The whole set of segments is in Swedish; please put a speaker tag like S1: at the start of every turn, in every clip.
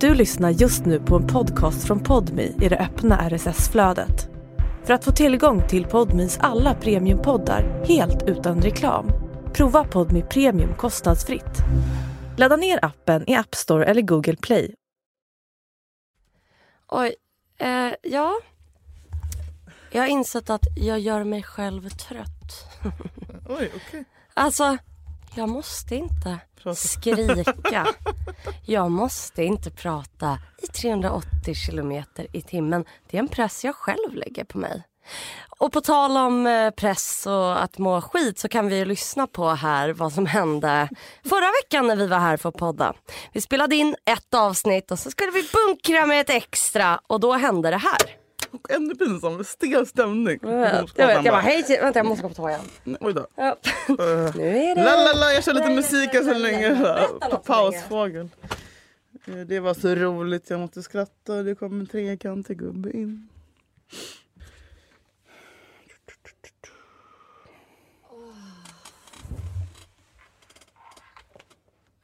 S1: Du lyssnar just nu på en podcast från Podmi i det öppna RSS-flödet. För att få tillgång till Podmis alla premiumpoddar helt utan reklam, prova Podmi Premium kostnadsfritt. Ladda ner appen i App Store eller Google Play.
S2: Oj, eh, ja. Jag har insett att jag gör mig själv trött.
S3: Oj, okej.
S2: Alltså, jag måste inte
S3: Prata.
S2: skrika. Jag måste inte prata i 380 kilometer i timmen. Det är en press jag själv lägger på mig. Och på tal om eh, press och att må skit så kan vi ju lyssna på här vad som hände förra veckan när vi var här för att podda. Vi spelade in ett avsnitt och så skulle vi bunkra med ett extra och då hände det här.
S3: Ännu pinsammare. Stel stämning.
S2: Jag, vet, jag bara hej, vänta jag måste gå på toa igen.
S3: Oj då.
S2: Ja.
S3: Eh,
S2: Nu är det...
S3: La, la, la, jag kör lite
S2: La, la,
S3: musik
S2: la,
S3: här så
S2: la, la.
S3: länge. så här.
S2: Berätta något så
S3: Pausfågel. Eh, Det var så roligt, jag måste skratta. Det kom en trekantig gubbe in.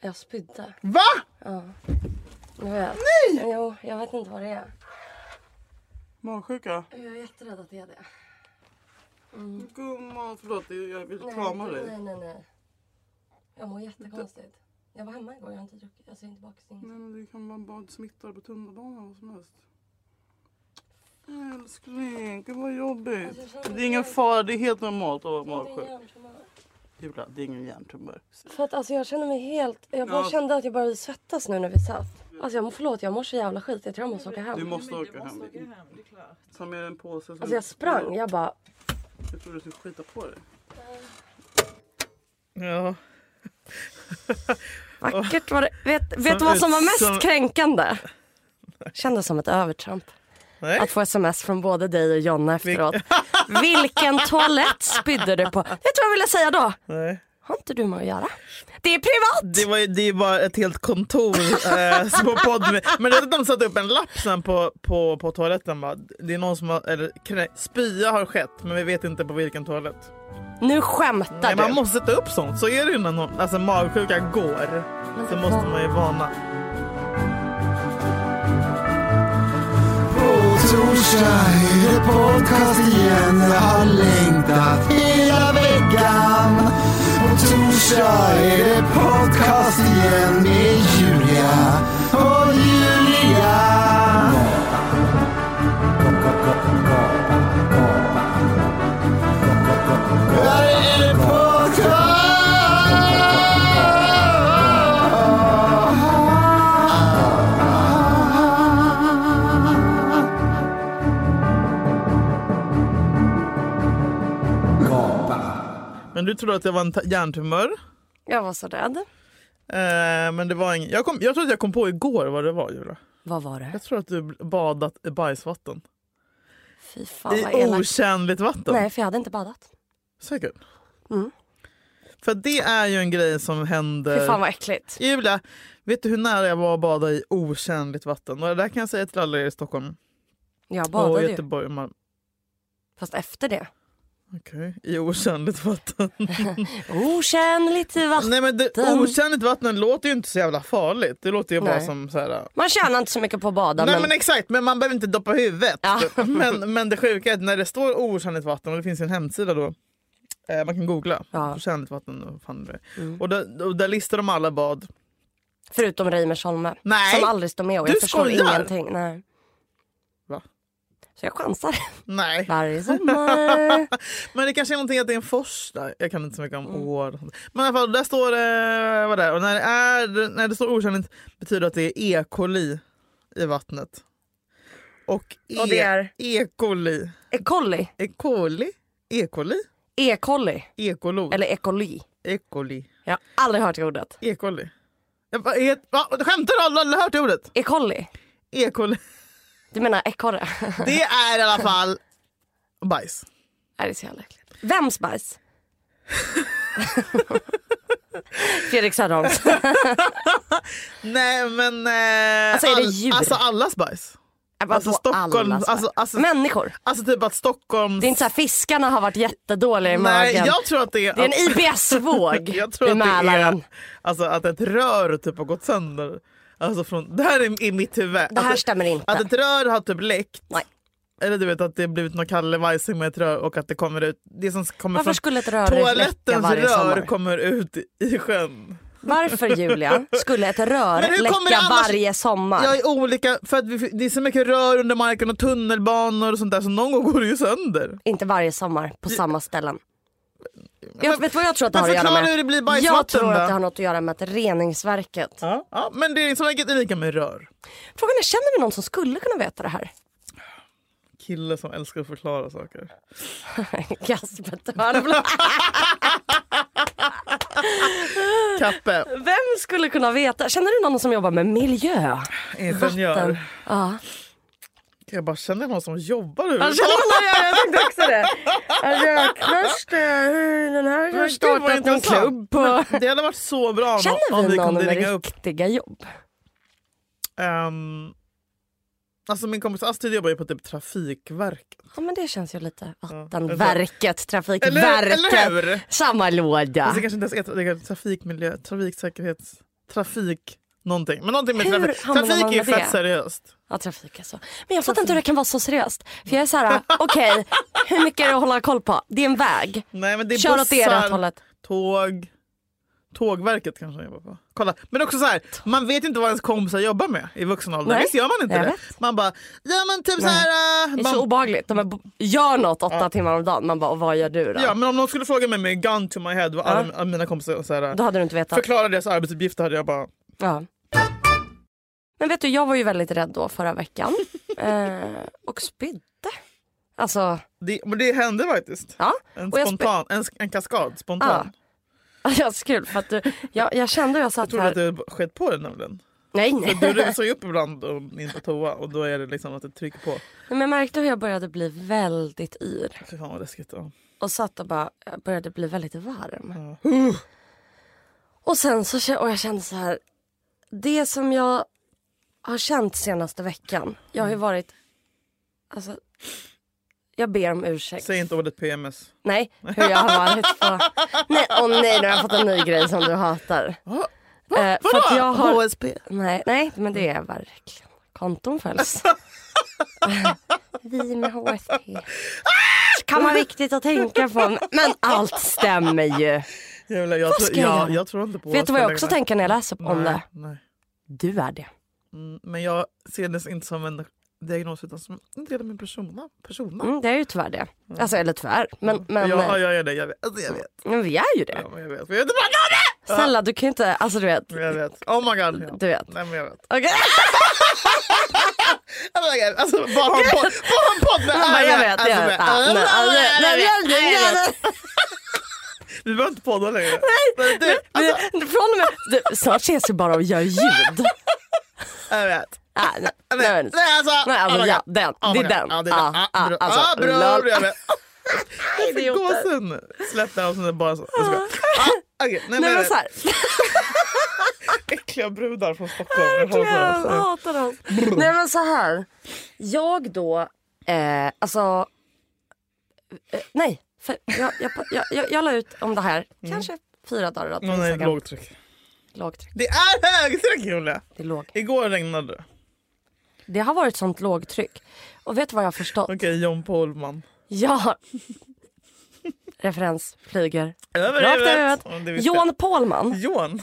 S2: Jag spydde.
S3: Va?
S2: Jag vet. Nej! Jo, jag vet inte vad det är.
S3: Magsjuka?
S2: Jag är jätterädd att det är det.
S3: Gumman, förlåt. Jag vill krama
S2: nej, nej,
S3: dig.
S2: nej, nej. Jag mår jättekonstigt. Jag var hemma igår, jag har inte druckit. Alltså, Jag ser inte bakis. inget.
S3: Men det kan vara badsmittad på tunnelbanan vad som helst. Älskling, gud vad
S2: Alltså,
S3: jobbigt. Det är ingen fara, det är helt normalt att vara
S2: Det är en
S3: magsjuk.
S2: hjärntumör.
S3: Jula, det är ingen hjärntumör.
S2: För att alltså jag känner mig helt... Jag bara
S3: Ja.
S2: kände att jag började svettas nu när vi satt. Alltså jag, må- förlåt, jag mår så jävla skit. Jag tror jag måste åka
S3: Du
S2: hem.
S3: måste åka hem. Ta med en påse. som-
S2: Alltså jag sprang. Jag bara...
S3: Jag trodde du skulle skita på dig. Ja.
S2: Vackert var det. Vet, vet
S3: Som
S2: du vad som var
S3: ut-
S2: mest
S3: som-
S2: kränkande? Kändes som ett övertramp.
S3: Nej.
S2: Att få sms från både dig och Jonna efteråt. Vilken toalett spydde du på? Vet du vad jag ville säga då?
S3: Nej.
S2: Har inte du med att göra? Det är privat!
S3: Det, var ju, det är ju bara ett helt kontor eh, som på podd. med- Men det, de satte upp en lapp sen på, på, på toaletten. Bara, det är någon som har, eller, krä, spya har skett men vi vet inte på vilken toalett.
S2: Nu skämtar
S3: Nej, man
S2: du.
S3: måste sätta upp sånt. Så är det ju när någon, alltså, magsjuka går. Så måste man ju varna.
S4: På torsdag är det podcast igen Jag har längtat hela veckan På torsdag är det podcast igen Med Julia och Julia Där är det podcast
S3: Men du trodde att det var en ta- hjärntumör.
S2: Jag var så rädd.
S3: Eh, men det var ingen... jag, kom, jag tror att jag kom på igår vad det var Julia.
S2: Vad var det?
S3: Jag tror att du badat i bajsvatten.
S2: Fy fan vad
S3: I
S2: elakt.
S3: otjänligt vatten.
S2: Nej, för jag hade inte badat.
S3: Säkert.
S2: Mm.
S3: För det är ju en grej som händer.
S2: Fy fan vad äckligt.
S3: Julia, vet du hur nära jag var att bada i otjänligt vatten? Och det där kan jag säga till alla er i Stockholm
S2: Jag
S3: och
S2: badade ju.
S3: Göteborg och Malmö.
S2: Fast efter det.
S3: Okej, I otjänligt vatten. Oh.
S2: Okänligt vatten.
S3: Nej men det,
S2: Den-
S3: otjänligt vatten låter ju inte så jävla farligt. Det låter ju bara
S2: Nej.
S3: som så här.
S2: Man tjänar inte så mycket på att bada.
S3: Nej
S2: men...
S3: men exakt, men man behöver inte doppa huvudet.
S2: Ja.
S3: Men, men det sjuka är att när det står otjänligt vatten, och det finns ju en hemsida då, eh, man kan googla
S2: Ja. Mm.
S3: otjänligt vatten och vad fan det är. Och, där, och där listar de alla bad.
S2: Förutom Reimersholme.
S3: Nej.
S2: Som aldrig står med och jag
S3: Du
S2: förstår
S3: skojar.
S2: ingenting. Nej.
S3: Va?
S2: Så jag chansar
S3: Nej.
S2: varje sommar.
S3: Men det kanske är någonting att det är en fors där. Jag kan inte så mycket om
S2: Mm.
S3: år. och sånt. Men i alla fall, där står det... Vad det är. Och när det, är, när det står otjänligt betyder det att det är E. coli i vattnet. Och E.
S2: Och det är?
S3: E. coli.
S2: Ekolli.
S3: E. coli? E. coli?
S2: Ekolli.
S3: E. coli?
S2: Eller ekoli.
S3: E. coli.
S2: Jag har aldrig hört det ordet.
S3: E. coli. Jag bara, e, va? Skämtar du? Har du aldrig hört det ordet?
S2: Ekolli.
S3: E. coli.
S2: Du menar ekorre?
S3: Det är i alla fall bajs.
S2: Nej, det är så jävla äckligt. Vems bajs? Fredrik Söderholms. Nej,
S3: Nej men... Eh,
S2: Alltså, är det
S3: all-
S2: djur?
S3: alltså allas bajs.
S2: vadå,
S3: Alltså, Stockholm,
S2: allas bajs?
S3: alltså- alltså-
S2: Människor.
S3: Alltså typ att Stockholms...
S2: Det är inte så här fiskarna har varit jättedåliga i
S3: Nej,
S2: magen.
S3: jag tror att det är...
S2: Det är en IBS-våg
S3: jag tror
S2: i
S3: att det
S2: Mälaren.
S3: är alltså, att ett rör typ har gått sönder. Alltså från, det här är i mitt huvud.
S2: Det här
S3: att,
S2: stämmer inte.
S3: att ett rör har typ läckt.
S2: Nej.
S3: Eller du vet att det har blivit någon kallevajsing med ett rör och att det kommer ut. Det som kommer
S2: Varför
S3: från
S2: skulle ett rör läcka
S3: toalettens
S2: varje
S3: rör
S2: sommar?
S3: kommer ut i sjön.
S2: Varför Julia skulle ett rör
S3: Men hur kommer
S2: läcka
S3: det annars-
S2: varje sommar?
S3: Jag är olika, för att vi, det är så mycket rör under marken och tunnelbanor och sånt där så någon gång går det ju sönder.
S2: Inte varje sommar på samma ställen. Jag,
S3: Men-
S2: vet du vad jag tror att det
S3: men
S2: har att göra
S3: förklara
S2: med?
S3: hur det blir
S2: jag
S3: bajsvatten
S2: tror
S3: då.
S2: att det har något att göra med att reningsverket.
S3: Ja, ja, men det är som enkelt är lika med rör.
S2: Frågan är, känner vi någon som skulle kunna veta det här?
S3: Kille som älskar att förklara saker.
S2: Kasper Törnblad.
S3: Kappe,
S2: Vem skulle kunna veta? Känner du någon som jobbar med miljö?
S3: ingenjör.
S2: Ja.
S3: Jag bara, känner jag någon som jobbar
S2: Jag
S3: överhuvudtaget?
S2: känner honom, jag, jag tänkte också det. Alltså, Jag Röknörste, hur den här har
S3: Men gud, vad
S2: startat en
S3: intressant.
S2: klubb på...
S3: Det hade varit så bra om, om
S2: Känner
S3: vi
S2: vi någon
S3: kunde
S2: med
S3: ringa upp.
S2: riktiga jobb?
S3: Ehm, alltså min kompis Astrid jobbar ju på typ Trafikverket.
S2: Ja men det känns ju lite vattenverket,
S3: Eller, eller
S2: trafikverket,
S3: hur? Alltså- Fast
S2: samma låda.
S3: Det kanske inte ens är det kanske är trafikmiljö, trafiksäkerhets, trafik någonting. Men någonting med
S2: Hur
S3: trafik.
S2: hamnar
S3: Trafik
S2: man
S3: är ju
S2: med det?
S3: fett seriöst.
S2: Ja trafik alltså. Men jag fattar inte hur det kan vara så seriöst. För jag är såhär, okej hur mycket är det att hålla koll på? Det är en väg.
S3: Nej men det är
S2: Kör åt det rätt
S3: bussar,
S2: hållet.
S3: tåg. Tågverket kanske han jobbar på. Kolla. Men också så här, man vet inte vad ens kompisar jobbar med i vuxen ålder.
S2: Nej,
S3: Visst gör man inte
S2: jag
S3: det?
S2: vet.
S3: Man bara, ja men typ så
S2: Nej.
S3: här... äh,
S2: Det är
S3: man-
S2: så obehagligt. De är, bo- gör något åtta timmar om dagen. Man bara, och vad gör du då?
S3: Ja, men om någon skulle fråga mig med gun to my head vad alla alla mina kompisar så här,
S2: Då hade du inte vetat.
S3: förklara deras arbetsuppgifter hade jag bara...
S2: Ja. Men vet du, jag var ju väldigt rädd då förra veckan. eh, och spydde. Alltså,
S3: Det, men det hände faktiskt.
S2: ja.
S3: En,
S2: Och jag spe-
S3: spontan, en, en kaskad spontan.
S2: Alltså, jag kul för att du, jag, jag kände hur jag
S3: Jag
S2: satt
S3: trodde
S2: här.
S3: att du skett på det nämligen.
S2: Nej,
S3: För
S2: nej.
S3: Du rusar ju upp ibland och in på toa och då är det liksom att det trycker på.
S2: Men jag märkte hur jag började bli väldigt yr.
S3: Fy fan vad läskigt. Ja.
S2: Och satt och bara, jag började bli väldigt varm.
S3: Ja.
S2: Och sen så kä- och jag kände så här. Det som jag har känt senaste veckan. Jag
S3: Mm.
S2: har ju varit, alltså. Jag ber om ursäkt.
S3: Säg inte ordet PMS.
S2: Nej, hur jag har varit på... Nej, åh nej, nu har jag fått en ny grej som du hatar.
S3: Va?
S2: Eh, för att jag har...
S3: HSP.
S2: Nej, nej, men det är verkligen... Konton följs. Vi med HSP. kan vara viktigt att tänka på. Men allt stämmer ju.
S3: Jävlar, jag,
S2: ska
S3: tror,
S2: jag
S3: jag,
S2: göra?
S3: jag tror inte på
S2: Vet du vad jag
S3: HSP
S2: också
S3: längre.
S2: tänker när jag läser om det?
S3: Nej, nej.
S2: Du är det.
S3: Mm, men jag ser det inte som en diagnos utan som en del av min persona. persona.
S2: Mm, det är ju tyvärr det. Alltså, eller tyvärr. Men, men,
S3: ja, ja, jag är det. Jag vet. Alltså, jag vet.
S2: men vi är ju det.
S3: Ja, men jag vet. Men jag vet inte vad
S2: Snälla, du kan ju inte... Alltså, du vet.
S3: jag Jag vet. Oh my god. Ja.
S2: Du vet.
S3: Nej, men jag vet.
S2: Okej.
S3: Oh my god. Alltså, bara ha en podd- bara ha en podd med
S2: Jag bara, jag vet, jag vet. Ja, men, alltså, nej, jag- jag- jag- jag-
S3: Vi behöver inte podda längre. Nej. Du, alltså,
S2: Men Från och med, du, snart ses vi bara och gör ljud.
S3: jag vet.
S2: Ah, nej,
S3: Jag
S2: nej, nej.
S3: vet. Nej, alltså.
S2: Nej, alltså,
S3: oh my
S2: ja,
S3: god.
S2: den.
S3: Oh
S2: det
S3: my
S2: är
S3: god.
S2: den.
S3: Ja, det är den.
S2: Ah,
S3: Ah,
S2: ah,
S3: bra.
S2: alltså,
S3: Ah, bra.
S2: lol.
S3: Jag vet. Jag fick
S2: Idioter.
S3: gåshud. Släpp det här och sen är det bara så. Jag skojar. Ah, okej.
S2: Nej
S3: Nej, men
S2: men såhär,
S3: Äckliga brudar från Stockholm. Jag Ah.
S2: jag
S3: hatar dem.
S2: hatar dem. Nej men så här. jag då, eh, alltså, eh, nej, för jag, jag, jag, jag, jag la ut om det här kanske fyra dagar i rad på
S3: Åh, Mm. nej,
S2: Instagram.
S3: lågtryck.
S2: Lågtryck,
S3: Det är högtryck Julia!
S2: det är låg.
S3: Igår regnade det.
S2: Det har varit sånt lågtryck. Och vet du vad jag har förstått?
S3: Okej, John Paulman.
S2: Ja. Referens, flyger.
S3: Över
S2: Rakt över
S3: huvudet. Ja, det
S2: huvudet.
S3: visste
S2: Johan Paulman.
S3: jag. John.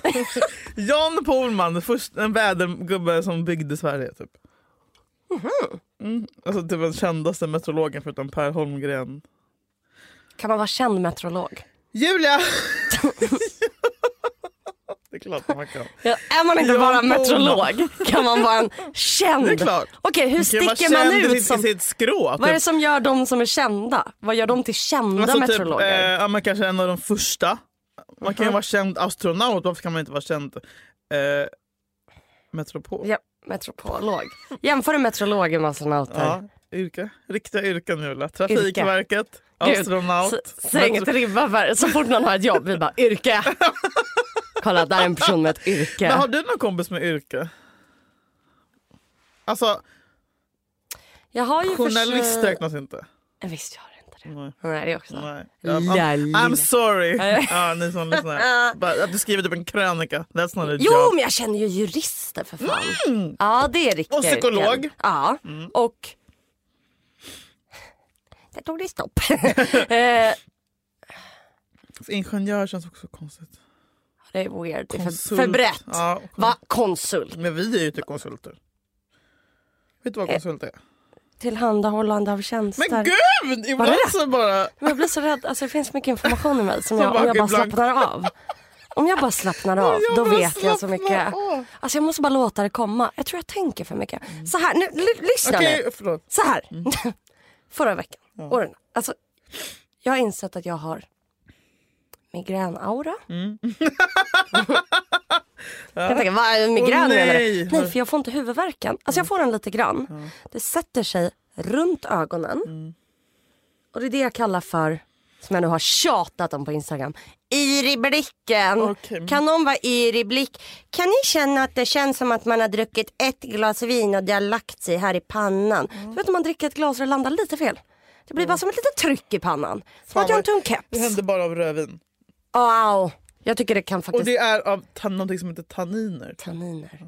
S3: John Paulman, först, en vädergubbe som byggde Sverige. Typ.
S2: Mhm.
S3: Mm. Alltså typ den kändaste meteorologen förutom Per Holmgren.
S2: Kan man vara känd meteorolog?
S3: Julia! det är klart man kan.
S2: Ja, är man inte
S3: Ja,
S2: bara
S3: Mona.
S2: meteorolog kan man vara en känd.
S3: Det är klart.
S2: Okej, hur
S3: Kan vara
S2: sticker man
S3: känd
S2: ut?
S3: i sitt, i
S2: Som,
S3: sitt skrå?
S2: vad är det
S3: Typ.
S2: som gör de som är kända? Vad gör de till kända
S3: Alltså, typ, eh,
S2: meteorologer? Mhm.
S3: ja, men kanske en av de första. Man kan ju vara känd astronaut, varför kan man inte vara känd eh, metropol?
S2: Ja, meteorolog. Jämför en meteorolog med astronauter.
S3: Ja, yrke. Riktiga yrken Julia. Trafikverket,
S2: Gud,
S3: astronaut.
S2: s- Släng ett ribba för så fort någon har ett jobb. Vi bara yrke. Kolla, där är en person med ett yrke.
S3: Men har du någon kompis med yrke? Alltså
S2: Jag har ju
S3: journalist
S2: försökt-
S3: räknas inte.
S2: Nej, Visst gör det inte det. det.
S3: Nej.
S2: Hon är det också.
S3: Nej.
S2: Lalla.
S3: I'm, I'm sorry.
S2: Nej.
S3: ja, ni som lyssnar. Bara Att du skriver typ en krönika. That's not a
S2: Jo,
S3: job.
S2: men jag känner ju jurister för fan. Ja, det är riktiga
S3: Mm. Och psykolog. Mm.
S2: yrken. Ja, och... Där tog det stopp. eh,
S3: Ingenjör känns också konstigt.
S2: det är weird. Det är för,
S3: Konsult.
S2: för brett.
S3: Ja.
S2: Va? Konsult?
S3: Men vi är ju inte konsulter. Vet
S2: Eh,
S3: du vad konsult är?
S2: Tillhandahållande av tjänster.
S3: Men gud! Ibland
S2: det
S3: så bara...
S2: Men jag blir så rädd. Alltså, det finns mycket information i mig som
S3: Så
S2: jag, om jag bara
S3: bakifrån.
S2: slappnar av. Om jag bara slappnar av, då
S3: bara
S2: vet jag så
S3: slappnar
S2: mycket.
S3: av.
S2: Alltså jag måste bara låta det komma. Jag tror jag tänker för mycket. Så här, nu, l- lyssna
S3: Okej,
S2: nu.
S3: förlåt.
S2: Så här.
S3: Mm.
S2: Förra veckan. Och den, alltså, jag har insett att jag har migränaura.
S3: Mm.
S2: Jag tänker, vad är migrän
S3: Åh,
S2: menar du?
S3: nej. Mm.
S2: Nej, för jag får inte huvudvärken. Alltså jag får den lite grann. Det sätter sig runt ögonen.
S3: Mm.
S2: Och det är det jag kallar för, som jag nu har tjatat om på Instagram, yr i blicken.
S3: Okej.
S2: Kan någon vara yr i blick? Kan ni känna att det känns som att man har druckit ett glas vin och det har lagt sig här i pannan? Du vet om man dricker ett glas och det landar lite fel. Det blir bara som ett litet tryck i pannan. Som att jag har en tung
S3: Det
S2: keps.
S3: händer bara av rödvin.
S2: Wow. Jag tycker det kan faktiskt...
S3: Och det är av tan- någonting som heter tanniner.
S2: Tanniner.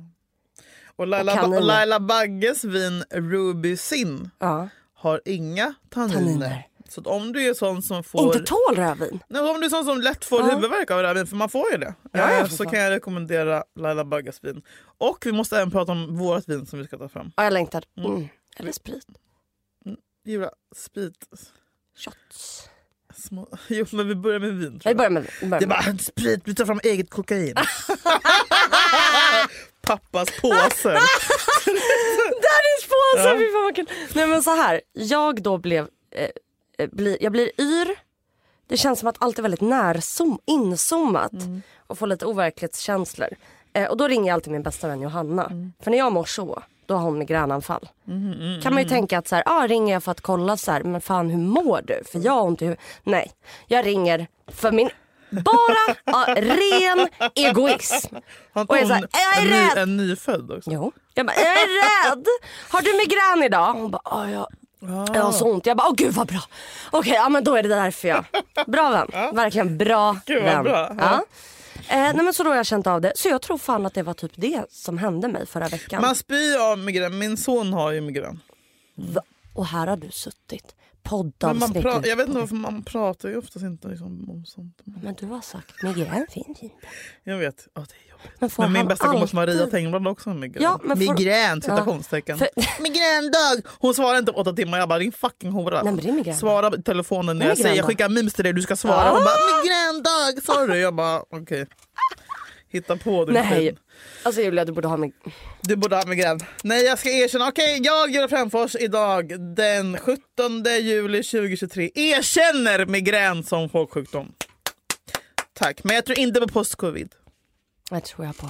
S3: Och Laila,
S2: Och kaniner.
S3: ba- Laila Bagges vin Ruby Sin
S2: Ja.
S3: har inga tanniner.
S2: Tanniner.
S3: Så att om du är sån som får...
S2: Inte tål rödvin.
S3: Nej, om du är sån som lätt får huvudvärk av rödvin, för man får ju det.
S2: Ja, ja,
S3: eh,
S2: för
S3: så
S2: fan.
S3: kan jag rekommendera Laila Bagges vin. Och vi måste även prata om vårt vin som vi ska ta fram.
S2: Ja, jag längtar. Mm. Eller sprit.
S3: Jura, sprit.
S2: Shots.
S3: Små... Jo, men vi börjar med vin. tror
S2: Vi
S3: jag.
S2: börjar med vi börjar
S3: Det är
S2: med-
S3: bara sprit, vi tar fram eget kokain. Pappas påse.
S2: Där är spåsen! Fy fan vad kul. Nej men så här, jag då blev, eh, eh, bli, jag blir yr. Det känns som att allt är väldigt närzoom, inzoomat och får lite overklighetskänslor. Eh, och då ringer jag alltid min bästa vän Johanna. För när jag mår så, då har hon migränanfall. kan man ju tänka att så här, ah, ringer jag för att kolla så här, men fan hur mår du? För jag har inte hur... Nej, jag ringer för min bara ja, ren egoism.
S3: Har inte
S2: Och jag är
S3: hon
S2: så här, jag är
S3: en, ny,
S2: rädd.
S3: en nyfödd också?
S2: Jo. Jag bara, jag är rädd. Har du migrän idag? Hon bara, "Ja, jag, jag har så ont. Jag bara, åh gud vad bra. Okej, ja men då är det därför jag. Bra vän. Verkligen bra
S3: Gud, vad
S2: vän.
S3: bra.
S2: Ja. Eh, nej men så då har jag känt av det. Så jag tror fan att det var typ det som hände mig förra veckan.
S3: Man spyr av migrän. Min son har ju migrän.
S2: Va? Och här har du suttit.
S3: Men man
S2: Poddavsnitt.
S3: pra- jag vet inte varför man pratar ju oftast inte liksom om sånt.
S2: Men du har sagt migrän finns inte.
S3: Jag vet. Ja, det är jobbigt.
S2: Men får
S3: Men min
S2: han
S3: bästa kompis
S2: alltid-
S3: Maria Tengblad har också en migrän.
S2: Ja, men får-
S3: Migrän! Citationstecken.
S2: För-
S3: Migrändag! Hon svarar inte på åtta timmar. Jag bara din fucking hora.
S2: Nej, men det är migrän.
S3: Svara på telefonen när jag
S2: Migrändag.
S3: säger jag skickar memes till dig du ska svara. Hon bara migrändag! Sorry. Jag bara okej. Hitta på du
S2: Nej.
S3: skit.
S2: Alltså Julia du borde ha mig.
S3: Du borde ha migrän. Nej jag ska erkänna. Okej jag Julia Fränfors idag den 17 juli 2023 erkänner migrän som folksjukdom. Tack. Men jag tror inte på postcovid.
S2: Jag tror jag på.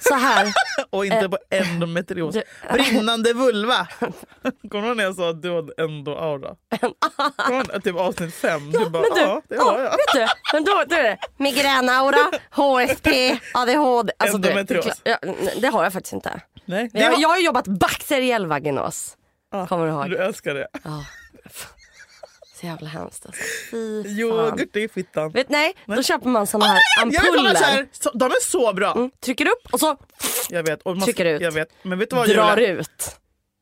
S2: Så här.
S3: Och
S2: Eh,
S3: inte på endometrios.
S2: du-
S3: Brinnande vulva! Kommer du ihåg när jag sa att du hade endoaura? Kommer du ihåg? Typ avsnitt fem. du bara,
S2: men du,
S3: ja det har
S2: ja,
S3: jag.
S2: Vet du, men då, då är det migränaura, HSP, ADHD. Alltså, du vet, det, är
S3: Endometrios.
S2: klart- ja, nej, det har jag faktiskt inte.
S3: Nej, det
S2: Jag,
S3: har
S2: jag har ju jobbat bakteriell vaginos.
S3: Ja,
S2: Kommer du ihåg?
S3: Du älskar det.
S2: Ja. Så jävla hemskt alltså. Fy fan.
S3: Yoghurt i fittan.
S2: Vet, nej, då köper man såna här
S3: Ah, Jag vet alla så
S2: ampuller.
S3: här, så, de är så bra!
S2: Mm, trycker upp och så
S3: Jag vet. Och
S2: Trycker ut.
S3: Jag vet. Men vet du vad
S2: drar
S3: Julia?
S2: ut.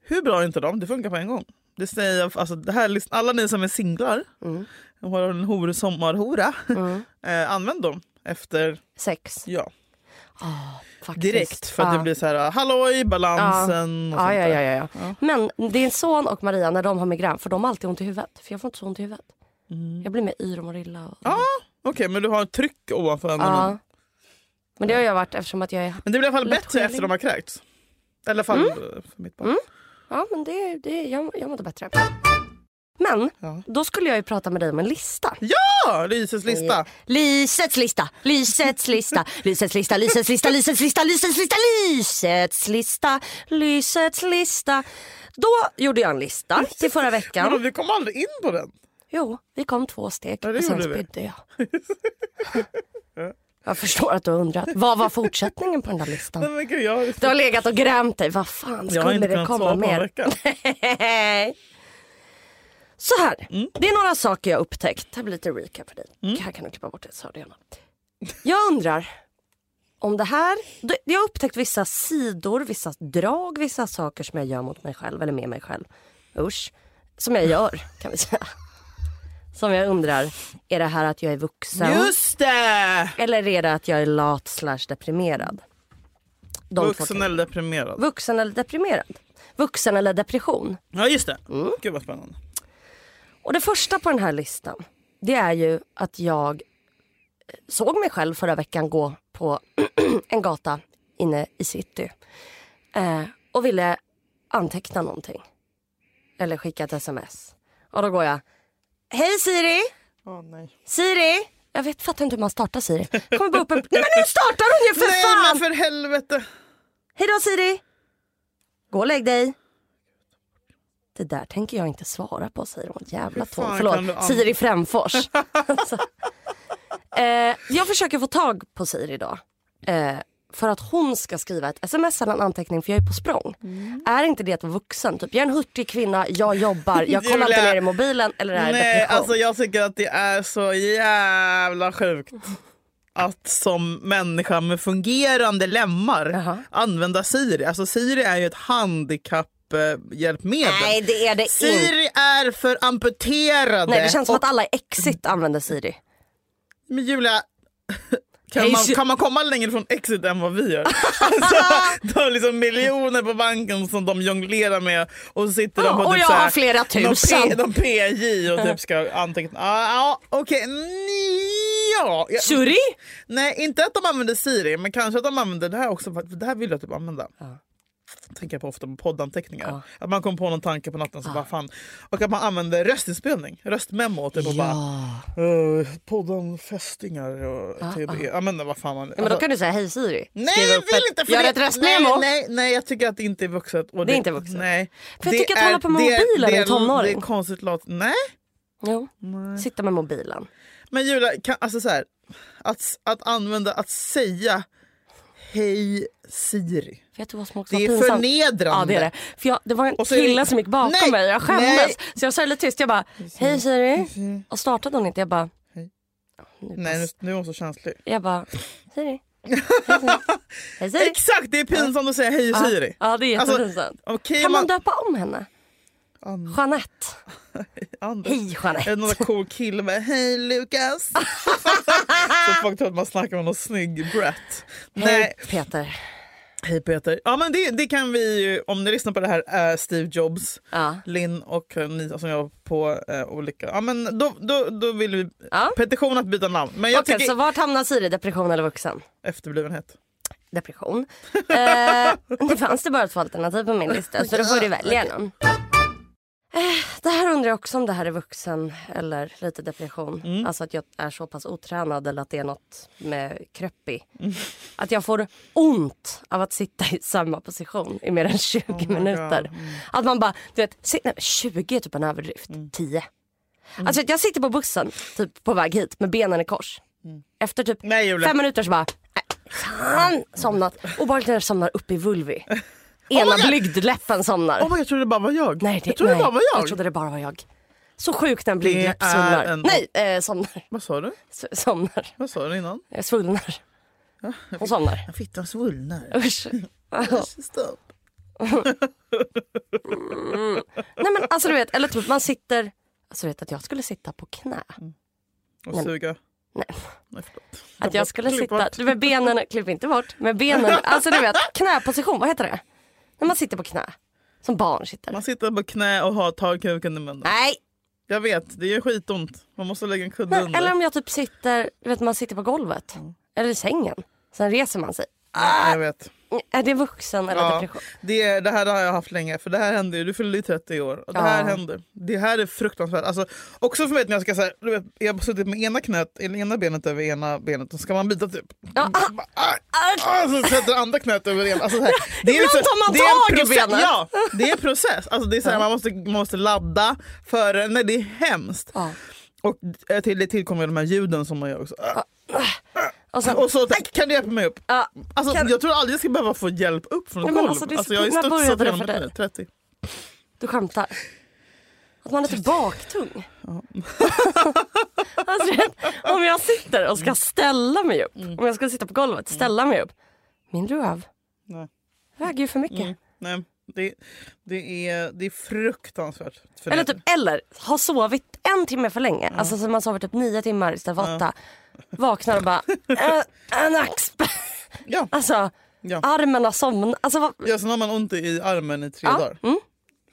S3: Hur bra är inte de? Det funkar på en gång. Det säger jag, alltså, det här, lyssn- alla ni som är singlar
S2: Mm.
S3: och har en hor, sommarhora, eh, använd dem efter
S2: Sex.
S3: ja,
S2: Faktiskt.
S3: direkt. För att
S2: Ja.
S3: det blir så här, halloj, balansen och sånt
S2: Ja, ja,
S3: där.
S2: ja, ja, ja. Men din son och Maria, när de har migrän, för de har alltid ont i huvudet. För jag får inte så ont i huvudet. Jag blir med yr och mår illa. Och...
S3: Mm. Ja, okej men du har ett tryck ovanför ögonen.
S2: Ja. Men det har jag varit eftersom att jag är...
S3: Men det blir i alla fall
S2: Lätt
S3: bättre efter
S2: skäling.
S3: de har kräkts. I alla fall
S2: Mm.
S3: för mitt barn.
S2: Ja, men det, det, jag, jag mådde bättre. Men
S3: Ja.
S2: då skulle jag ju prata med dig om en lista.
S3: Ja, Lyses lista.
S2: Lysets lista, Lysets lista, Lysets lista, Lysets lista, Lysets lista, Lysets lista, Lysets lista, Lysets lista. Då gjorde jag en lista till förra
S3: Men då,
S2: veckan.
S3: vi kom aldrig in på den.
S2: Jo, vi kom två steg
S3: Ja, det
S2: och sen
S3: gjorde vi.
S2: spydde jag. Jag förstår att du har undrat. Vad var fortsättningen på den där listan?
S3: Nej, men gud, jag,
S2: Du har legat och grämt dig. Vad fan
S3: jag har
S2: skulle
S3: inte
S2: det
S3: kunnat svara
S2: komma
S3: på en
S2: mer?
S3: vecka.
S2: Hej. Så här,
S3: Mm.
S2: det är några saker jag upptäckt. Det här blir lite recap för dig. Här kan du klippa bort det så hör du gärna. Jag undrar om det här. det- Jag har upptäckt vissa sidor, vissa drag, vissa saker som jag gör mot mig själv eller med mig själv. Usch. Som jag gör kan vi säga. Som jag undrar, är det här att jag är vuxen?
S3: Just det!
S2: Eller är det att jag är lat slash deprimerad? De två
S3: Vuxen
S2: kan-
S3: eller deprimerad.
S2: vuxen eller deprimerad? Vuxen eller depression?
S3: Ja just det.
S2: Mm.
S3: Gud vad spännande.
S2: Och det första på den här listan, det är ju att jag eh, såg mig själv förra veckan gå på en gata inne i city eh, och ville anteckna någonting. Eller skicka ett sms. Och då går jag, hej Siri!
S3: Åh nej.
S2: Siri! Jag vet, fattar inte hur man startar Siri. Kommer bara upp en... Nej men nu startar hon ju för
S3: nej
S2: fan!
S3: men för helvete.
S2: Hej då Siri! Gå och lägg dig. Det där tänker jag inte svara på säger hon. Jävla
S3: Hur fan
S2: tåg.
S3: kan du an-
S2: Förlåt, Siri Främfors. alltså. eh, jag försöker få tag på Siri idag. Eh, för att hon ska skriva ett sms eller en anteckning för jag är på språng.
S3: Mm.
S2: Är inte det att vara vuxen? Typ, jag är en hurtig kvinna, jag jobbar, jag kollar inte
S3: Julia.
S2: ner i mobilen eller är
S3: Nej
S2: depression.
S3: alltså jag tycker att det är så jävla sjukt. Att som människa med fungerande lemmar
S2: Jaha.
S3: använda Siri. Alltså Siri är ju ett handikapphjälpmedel.
S2: Nej det är det inte.
S3: Siri är för amputerade.
S2: Nej, det känns som
S3: Och-
S2: att alla i Exit använder Siri.
S3: Men Julia, kan
S2: Hej,
S3: man,
S2: Ju-
S3: kan man komma längre från exit än vad vi gör? Alltså, de har liksom miljoner på banken som de jonglerar med och så sitter de
S2: Ja,
S3: på
S2: och
S3: typ
S2: jag
S3: så här,
S2: har flera
S3: någon
S2: tusen.
S3: P, någon PJ och typ ska anteckna. Ja, ja, okej. Ja, jag-
S2: Suri?
S3: Nej, inte att de använder Siri, men kanske att de använder det här också. För att det här vill jag typ använda.
S2: Ja.
S3: Tänker jag på ofta på poddanteckningar.
S2: Ja.
S3: Att man kommer på någon tanke på natten. Så bara, fan. Och att man använder röstinspelning, röstmemo. Typ, och bara, Uh, podden Fästingar och
S2: Ah,
S3: TB. Ja, men vad fan man... alltså,
S2: Ja, men då kan du säga hej Siri.
S3: Nej
S2: Skriva
S3: jag
S2: upp
S3: vill
S2: ett-
S3: inte! För
S2: Gör
S3: det-
S2: ett röstmemo.
S3: Nej, nej, nej jag tycker att det inte är vuxet. Och
S2: Det är inte vuxet.
S3: Nej.
S2: För jag
S3: Det
S2: tycker att
S3: är-
S2: hålla på med
S3: det är-
S2: mobilen
S3: det
S2: är
S3: är-
S2: tonåring.
S3: Det är konstigt lat. Nej.
S2: Jo, sitta med mobilen.
S3: Men Julia, kan, alltså så här, att, att använda, att säga Hej Siri.
S2: Vet du vad som också
S3: Det
S2: var
S3: är
S2: pinsamt?
S3: förnedrande.
S2: Ja det är det. För jag, det var en
S3: Och så är det-
S2: kille som gick bakom
S3: Nej,
S2: mig och jag
S3: nej.
S2: skämdes. Så jag sa lite tyst, jag bara hej Siri. Och startade hon inte, jag bara
S3: Hej.
S2: "Ja, nu
S3: Nej, nu,
S2: pass."
S3: nu är hon så känslig.
S2: Jag bara Siri. Hej Siri. Hej Siri.
S3: Exakt, det är pinsamt att säga Hej
S2: Ja.
S3: Siri.
S2: Ja det är
S3: Alltså,
S2: jättepinsamt.
S3: Okej,
S2: Kan man
S3: man...
S2: döpa om henne?
S3: An-
S2: Jeanette.
S3: Anders.
S2: Hej
S3: En
S2: Jeanette.
S3: någon cool kille med hej Lukas. så folk tror att man snackar med någon snygg brat.
S2: Hej
S3: Nej.
S2: Peter.
S3: Hej Peter. Ja men det, det kan vi ju, om ni lyssnar på det här, är Steve Jobs,
S2: Ja. Linn.
S3: Linn och eh, ni som jag på eh, olika, ja men då, då, då vill vi,
S2: Ja.
S3: petition att byta namn. Men jag
S2: Okej,
S3: tycker
S2: så vart hamnar Siri? Depression eller vuxen?
S3: efterblivenhet.
S2: depression. Eh, det fanns det bara två alternativ på min lista så då får du välja någon. Eh, det här undrar jag också om det här är vuxen eller lite depression.
S3: Mm.
S2: Alltså att jag är så pass otränad eller att det är något med kröppi.
S3: Mm.
S2: Att jag får ont av att sitta i samma position i mer än 20
S3: my
S2: minuter.
S3: God. Mm.
S2: Att man bara, du vet, si- nej, 20 är typ en överdrift, 10.
S3: Mm.
S2: Alltså att jag sitter på bussen typ på väg hit med benen i kors.
S3: Mm.
S2: Efter typ
S3: Nej Julia.
S2: Fem minuter så bara, "Nej, fan, somnat. Och bara när jag somnar upp i vulvi. Ena blygdläppen somnar.
S3: Oh my, God, jag trodde det bara var jag.
S2: nej, det,
S3: jag trodde
S2: nej,
S3: det bara var jag.
S2: Jag trodde det bara var jag. Så sjukt när en
S3: Det
S2: blygdläpp
S3: är
S2: somnar.
S3: en-
S2: Nej, eh, somnar.
S3: Vad sa du?
S2: S- Somnar.
S3: Vad sa du innan?
S2: Jag svullnar.
S3: Ah,
S2: Hon somnar.
S3: Fittan svullnar.
S2: Usch. Mm.
S3: Stopp.
S2: Nej men alltså du vet, eller typ man sitter, alltså du vet att jag skulle sitta på knä.
S3: Och
S2: Nej.
S3: suga.
S2: Nej.
S3: Nej förlåt.
S2: Att jag skulle
S3: Klipp
S2: sitta,
S3: bort.
S2: med benen, klipp inte bort, med benen, alltså du vet knäposition, vad heter det? När man sitter på knä. Som barn sitter.
S3: Man sitter på knä och har tar kuken i munnen.
S2: Nej,
S3: Jag vet, det gör skitont. Man måste lägga en kudde
S2: Nej,
S3: under. Mm.
S2: eller om jag typ sitter, du vet man sitter på golvet. Eller i sängen. Sen reser man sig.
S3: Ja, jag vet.
S2: Är det vuxen eller
S3: Ja.
S2: depression?
S3: Det, det här har jag haft länge, för det här händer ju. Du fyllde ju 30 år. Och det
S2: Ja.
S3: här händer. Det här är fruktansvärt. Alltså, också för mig att när jag ska säga, du vet, jag har suttit med ena knät, eller ena benet över ena benet och ska man bita typ.
S2: Ja, ah,
S3: Bara, ah, ah, så sätter andra knät över ena. Alltså, så här. det är
S2: Ibland
S3: liksom-
S2: tar man
S3: det är en
S2: tag i
S3: process-
S2: benet.
S3: Ja, det är en process. Alltså, det är så här, man, måste, man måste ladda före. Nej, det är hemskt.
S2: Ja.
S3: Och eh, till det tillkommer ju de här ljuden som man gör också. Ah.
S2: och sen,
S3: Och så tack, kan du hjälpa mig upp?
S2: ja,
S3: Alltså,
S2: Kan-
S3: Jag tror aldrig jag ska behöva få hjälp upp från
S2: Nej,
S3: ett
S2: men
S3: golv.
S2: alltså, det är så-
S3: jag har ju
S2: när började
S3: studsat
S2: det
S3: redan
S2: för
S3: när jag
S2: dig?
S3: är 30.
S2: du skämtar. Att man är lite baktung. alltså, du vet, om jag sitter och
S3: Mm.
S2: ska ställa mig upp, om jag ska sitta på golvet, ställa mig upp. Min röv
S3: Mm. Nej.
S2: väger ju för mycket.
S3: Mm. Nej, det, det, är, det är fruktansvärt. För
S2: Eller,
S3: det.
S2: typ, eller ha sovit en timme för länge. Alltså så man sover typ nio timmar istället för åtta. Vaknar och bara, "Eh, en axel.
S3: Ja.
S2: Alltså
S3: Ja.
S2: armen har somnat. Alltså vad,
S3: ja, sen har man ont i armen i tre
S2: Ja, Mm.
S3: dagar.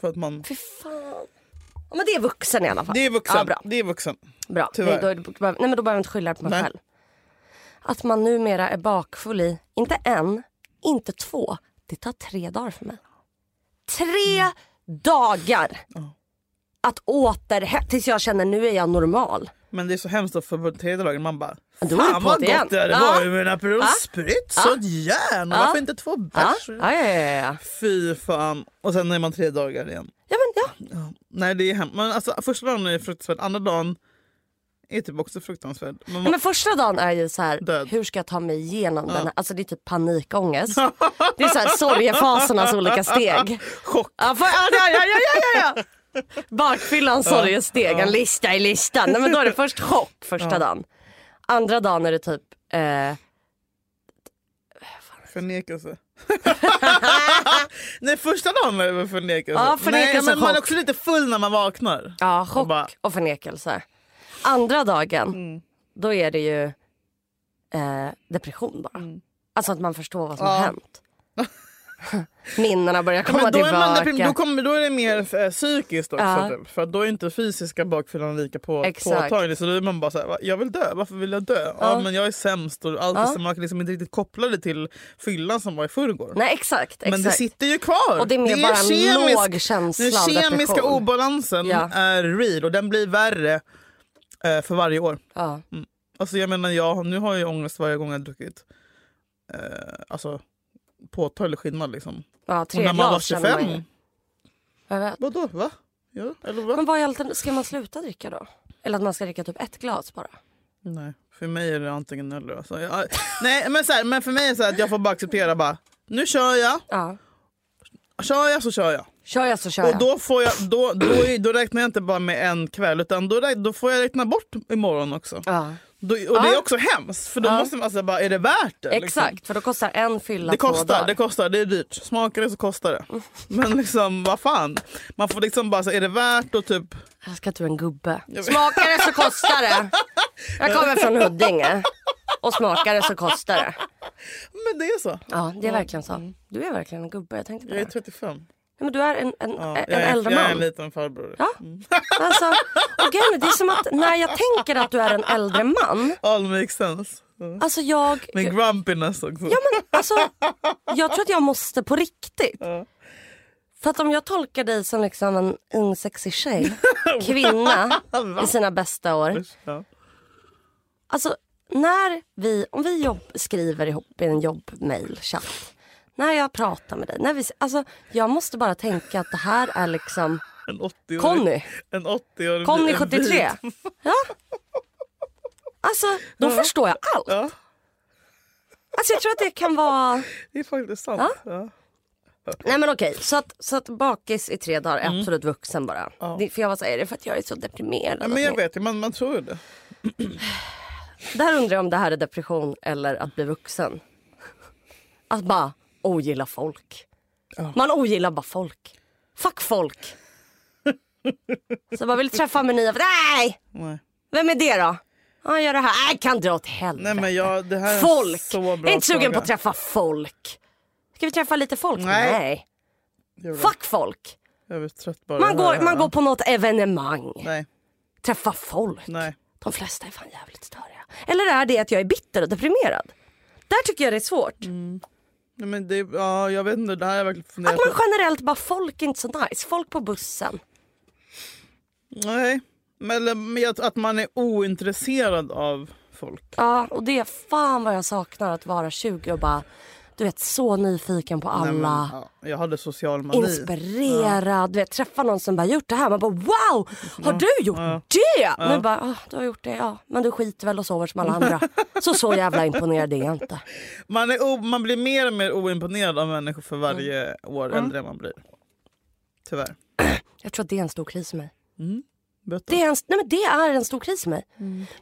S3: För att man,
S2: fy fan. Ja, men det är vuxen i alla fall.
S3: det är vuxen.
S2: Ja, bra.
S3: Det är vuxen.
S2: bra.
S3: Tyvärr.
S2: Nej, då, är det, då behöver- nej men då behöver man inte skylla det på mig
S3: Nej.
S2: själv. Att man numera är bakfull i, inte en, inte två. Det tar tre dagar för mig. Tre
S3: Mm.
S2: dagar! Att återhämta, tills jag känner nu är jag normal.
S3: Men det är så hemskt då, för på tredje dagen man bara
S2: då är det
S3: Fan
S2: på
S3: vad
S2: det
S3: gott
S2: igen."
S3: det hade
S2: Ja.
S3: varit med en Aperol Spritz och ett järn.
S2: Ja.
S3: Varför inte två
S2: Ja,
S3: bärs?
S2: ja, ja, ja, ja.
S3: Fy fan. Och sen är man tre dagar igen.
S2: ja, men, ja.
S3: Nej det är hemskt. Men alltså, första dagen är fruktansvärd, andra dagen är typ också fruktansvärd. Men
S2: Nej, men första dagen är ju så här,
S3: Död.
S2: hur ska jag ta mig igenom den här? Alltså det är typ panikångest. det är så här sorgefasernas olika steg.
S3: Chock.
S2: Ja, för, ja, ja, ja, ja, ja, ja. Bakfyllan sorgesteg, en lista i listan. Nej, men då är det först chock första dagen. Andra dagen är det typ eh,
S3: Förnekelse. Nej första dagen är det väl förnekelse.
S2: Ja, förnekelse
S3: Nej, men man är
S2: chock.
S3: också lite full när man vaknar.
S2: ja, chock
S3: Och bara- Mm.
S2: och förnekelse. Andra dagen, då är det ju eh, depression bara. Alltså att man förstår vad som har
S3: Mm. Ja.
S2: hänt. Minnena börjar komma
S3: Men då, är
S2: tillbaka.
S3: man deprim- då, kommer, då är det mer eh, psykiskt också.
S2: Ja.
S3: Typ. För att då är inte fysiska bakfyllan lika på,
S2: Exakt.
S3: påtaglig. Så då är man bara såhär, jag vill dö, varför vill jag dö? Ja, men jag är sämst och allt är så man kan liksom inte riktigt koppla det till fyllan som var i förrgår.
S2: Nej exakt. exakt.
S3: Men det sitter ju kvar.
S2: Och det är mer bara en låg känsla
S3: Den
S2: av
S3: kemiska
S2: depression.
S3: obalansen
S2: Ja.
S3: är real och den blir värre eh, för varje år.
S2: ja.
S3: Alltså jag menar, jag, nu har jag ju ångest varje gång jag har druckit. Eh, alltså påtaglig skillnad liksom.
S2: Ja,
S3: Och
S2: tre
S3: när man var
S2: glas känner man
S3: 25,
S2: ju. Jag vet.
S3: vadå? Va? Ja, eller va?
S2: Men vad är altern- ska man sluta dricka då? Eller att man ska dricka typ ett glas bara?
S3: Nej, för mig är det antingen eller. Alltså, jag, nej, men, så här, men för mig är det så här att jag får bara acceptera bara, nu kör jag,
S2: Ja.
S3: kör jag så kör jag.
S2: Kör jag så kör jag.
S3: Och då, får jag, då, då, är- då räknar jag inte bara med en kväll utan då, räk- då får jag räkna bort imorgon också.
S2: ja.
S3: Då, och det är också hemskt för då måste man alltså bara, är det värt det? liksom?
S2: Exakt, för då kostar en fylla
S3: Det
S2: två
S3: kostar,
S2: dagar.
S3: det kostar, det är dyrt. Smakar det så kostar det. Men liksom vad fan. Man får liksom bara, så, är det värt att typ...
S2: Jag ska till en gubbe. Smakar det så kostar det. Jag kommer från Huddinge. Och smakar det så kostar det.
S3: Men det är så.
S2: Ja, Mm. det är verkligen så. Du är verkligen en gubbe, jag tänkte på
S3: Jag
S2: det.
S3: är
S2: Nej,
S3: 35.
S2: men du är en, en,
S3: Ja,
S2: en
S3: jag, är,
S2: äldre
S3: jag är en
S2: man.
S3: liten farbror.
S2: Ja. Alltså, och grejen är, det är som att när jag tänker att du är en äldre man.
S3: All makes sense. Mm.
S2: Alltså jag...
S3: Min grumpiness också.
S2: Ja, men alltså, jag tror att jag måste på riktigt. För att om jag tolkar dig som liksom en ung sexig tjej, kvinna i sina bästa år.
S3: Ja.
S2: Alltså när vi, om vi jobb, skriver ihop i en jobbmailchatt. När jag pratar med dig. När vi, alltså, jag måste bara tänka att det här är liksom
S3: En 80-årig.
S2: Conny.
S3: En 80-årig.
S2: Conny
S3: en
S2: 73.
S3: vit.
S2: Ja. Alltså då förstår jag allt.
S3: Ja.
S2: Alltså jag tror att det kan vara...
S3: Det är faktiskt sant. Ja.
S2: Nej men okej, så att, så att bakis i tre dagar är
S3: Mm.
S2: absolut vuxen bara. Det, för jag var så här, är det för att jag är så deprimerad?
S3: Ja, men jag vet ju, man, man tror ju det.
S2: Där undrar jag om det här är depression eller att bli vuxen. Att bara ogilla folk. Man ogillar bara folk. Fuck folk. så bara vill träffa med nya. Nej!
S3: Nej.
S2: Vem är det då? Ja, gör det här. Nej, kan dra åt helvete.
S3: Nej, men jag, det här är en
S2: folk!
S3: Så
S2: jag
S3: bra
S2: är inte sugen
S3: fråga.
S2: på att träffa folk. Ska vi träffa lite folk?
S3: Nej.
S2: Nej.
S3: Jag vet-
S2: Fuck folk.
S3: Jag är trött bara.
S2: Man
S3: att höra
S2: går,
S3: det
S2: man
S3: här.
S2: går på något evenemang.
S3: Nej,
S2: Träffa folk.
S3: nej.
S2: De flesta är fan jävligt störiga. Eller är det att jag är bitter och deprimerad? Där tycker jag det är svårt.
S3: nej men det, ja, jag vet inte, det här har jag verkligen
S2: Att
S3: funderat
S2: man
S3: på.
S2: generellt bara, folk är inte så nice. Folk på bussen.
S3: Nej. Men, eller, men jag- att man är ointresserad av folk.
S2: Ja, och det är fan vad jag saknar att vara 20 och bara, du vet så nyfiken på alla.
S3: Nej, men, ja, jag hade social mani.
S2: Inspirerad, du vet träffa någon som bara gjort det här. Man bara wow, har du gjort det? Men bara, ah, du har gjort det, ja. Men du skiter väl och sover som alla andra. så så jävla imponerad är jag inte.
S3: Man, är o, man blir mer och mer oimponerad av människor för varje år äldre man blir. Tyvärr.
S2: Jag tror att det är en stor kris för mig.
S3: Böter.
S2: Det är, en, nej men det är en stor kris för mig.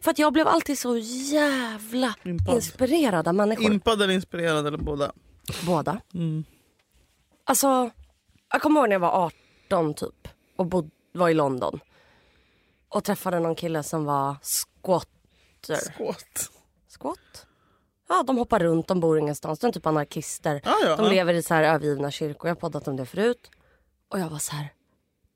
S2: För att jag blev alltid så jävla
S3: Impad.
S2: inspirerad av människor.
S3: Impad eller inspirerad eller båda.
S2: Båda.
S3: Mm.
S2: Alltså, jag kommer ihåg när jag var 18 typ och bod, var i London. Och träffade någon kille som var squatter.
S3: Skåt.
S2: Squat? Ja, de hoppar runt, de bor ingenstans. De är typ anarkister.
S3: Ja, ja,
S2: de
S3: ja.
S2: lever i så här övergivna kyrkor. Jag har poddat om det förut. Och jag var så här,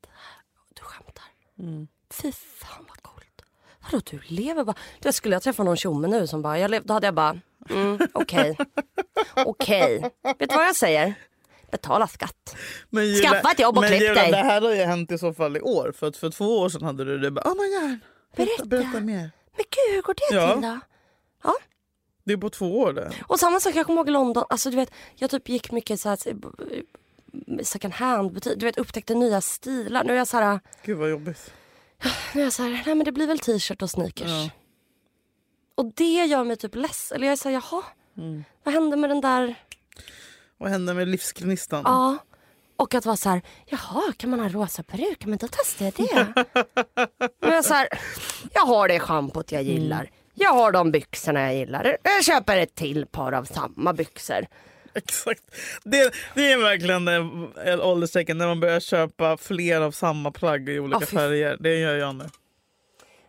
S2: "Det här- du skämtar.
S3: Mm.
S2: Fy fan vad coolt. Vadå du lever bara? Du, skulle jag träffa någon tjomme nu som bara, jag lev, då hade jag bara, mm, okej. okej. Vet du vad jag säger? Betala skatt.
S3: Men
S2: Skaffa ett jobb och
S3: men
S2: klipp
S3: Julia,
S2: dig.
S3: Det här har ju hänt i så fall i år. För att för två år sedan hade du det bara, oh my god.
S2: Berätta.
S3: berätta mer.
S2: Men gud, hur går det
S3: Ja.
S2: till då?
S3: Det är på två år det.
S2: Och samma sak, jag kommer ihåg i London. Alltså, du vet, jag typ gick mycket så här, second hand butik. Du vet, upptäckte nya stilar. Nu är jag så här,
S3: Gud vad jobbigt.
S2: nu är jag så här nej men det blir väl t-shirt och sneakers. Och det gör mig typ less. Eller jag är så här, jaha.
S3: Mm.
S2: Vad hände med den där?
S3: Vad hände med livsgnistan?
S2: Ja. Och att vara så här, jaha, kan man ha rosa peruk? Men då testar jag det. Men jag, är så här, jag har det schampot jag
S3: Mm.
S2: gillar. Jag har de byxorna jag gillar. Jag köper ett till par av samma byxor.
S3: Exakt. Det, det är verkligen en en ålderstecken när man börjar köpa fler av samma plagg i olika
S2: Ah, fy-
S3: färger. Det gör jag nu.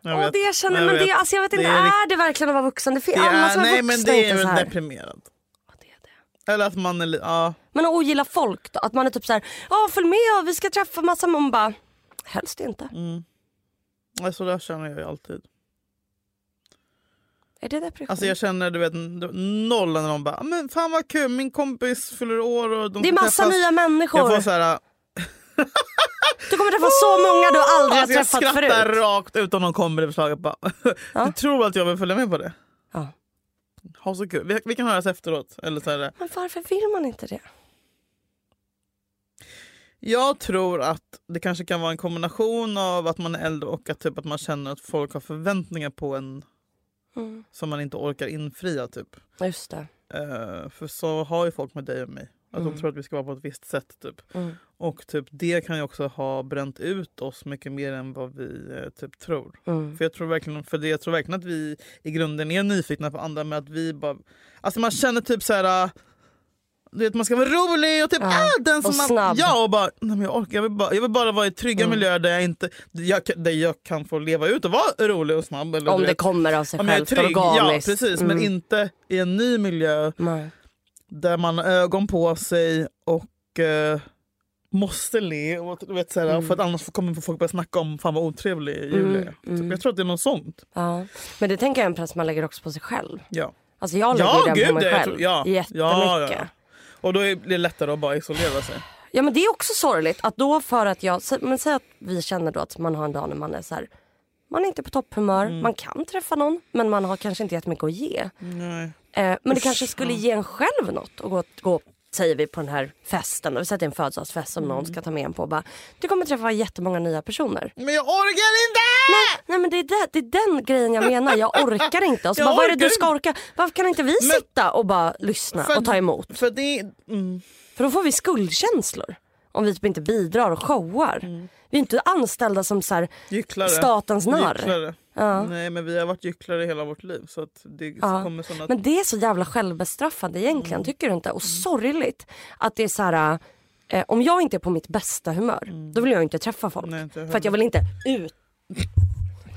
S3: Jag
S2: Ja,
S3: vet.
S2: det jag känner,
S3: Jag
S2: men det,
S3: vet.
S2: alltså jag vet inte,
S3: Det är
S2: är,
S3: rikt-
S2: det verkligen att vara vuxen? Det finns
S3: Det är-
S2: alla som är
S3: nej,
S2: vuxna
S3: men det är
S2: inte så
S3: väl
S2: här.
S3: deprimerad.
S2: Ja, det är det.
S3: Eller att man är li- ja.
S2: Men att ogilla folk då? Att man är typ så här, ja följ med och vi ska träffa massa man bara, helst inte.
S3: mm. ja, så där Alltså, känner jag ju alltid.
S2: Är det depression?
S3: Alltså jag känner du vet noll när de bara "Ah, men fan vad kul min kompis fyller år och de
S2: det är
S3: ska
S2: massa
S3: träffas."
S2: nya människor.
S3: Jag får så här,
S2: Du kommer träffa så många du aldrig har
S3: alltså jag
S2: träffat förut.
S3: skrattar rakt ut om någon kommer i förslaget. Bara,
S2: Ja.
S3: Du tror att jag vill följa med på det?
S2: Ja.
S3: Ha så kul. Vi, vi kan höras efteråt. Eller så här,
S2: Men varför vill man inte det?
S3: Jag tror att det kanske kan vara en kombination av att man är äldre och att, typ att man känner att folk har förväntningar på en
S2: Mm.
S3: som man inte orkar infria. Typ.
S2: Just det.
S3: Eh, för så har ju folk med dig och mig. Att de tror att vi ska vara på ett visst sätt. Typ.
S2: Mm.
S3: Och typ, det kan ju också ha bränt ut oss mycket mer än vad vi eh, typ, tror.
S2: Mm.
S3: För, jag tror verkligen, för det, jag tror verkligen att vi i grunden är nyfikna på andra. Men att vi bara, alltså man känner typ så här... Du vet, man ska vara rolig och typ
S2: Ja,
S3: ah, den som
S2: och
S3: man,
S2: snabb. Mm.
S3: Ja, och bara, nej, men jag, orkar, jag, vill bara, jag vill bara vara i trygga miljöer där jag, inte, jag, kan- där jag kan få leva ut och vara rolig och snabb. Eller,
S2: Om
S3: du
S2: det
S3: vet,
S2: kommer av sig
S3: om jag är
S2: självt
S3: trygg. Ja,
S2: organiskt.
S3: precis.
S2: Mm.
S3: Men inte i en ny miljö
S2: Nej.
S3: där man har ögon på sig och eh, måste le. Och, du vet, så här, För att
S2: Mm.
S3: annars kommer folk börja snacka om fan vad otrevlig Julia är.
S2: mm.
S3: Typ, jag tror att det är något sånt.
S2: Ja. Men det tänker jag är en press man lägger också på sig själv.
S3: Ja.
S2: Alltså jag lägger ju den på mig
S3: det- jag
S2: själv.
S3: tror- ja.
S2: Jättemycket.
S3: Ja, ja, ja. Och då är det lättare att bara isolera sig.
S2: Ja men det är också sorgligt att då för att jag, sä- men säg att vi känner då att man har en dag när man är så här, man är inte på topphumör,
S3: Mm.
S2: man kan träffa någon men man har kanske inte jättemycket att ge.
S3: Nej.
S2: Eh, men det kanske skulle ge en själv något att gå, gå säger vi på den här festen, vi säger att det är en födelsedagsfest som
S3: Mm.
S2: någon ska ta med en på och bara, du kommer träffa jättemånga nya personer.
S3: Men jag orkar inte!
S2: Nej men det är, det, det är den grejen jag menar, jag orkar inte. Och så
S3: Jag
S2: bara, vad är det du
S3: orkar
S2: ska orka? Varför kan inte vi sitta och bara lyssna
S3: För-
S2: och ta emot?
S3: För det är... Mm.
S2: För då får vi skuldkänslor. Om vi typ inte bidrar och showar.
S3: Mm.
S2: Vi är inte anställda som så här,
S3: Gycklare.
S2: statens narr.
S3: Gycklare. Nej men vi har varit gycklare hela vårt liv så att det
S2: Ja.
S3: kommer såna... Mm.
S2: Men det är så jävla självbestraffande egentligen, tycker du inte? Och sorgligt att det är så här... Eh, om jag inte är på mitt bästa humör, då vill jag inte träffa folk.
S3: Mm. Nej, inte jag
S2: för att jag vill inte ut...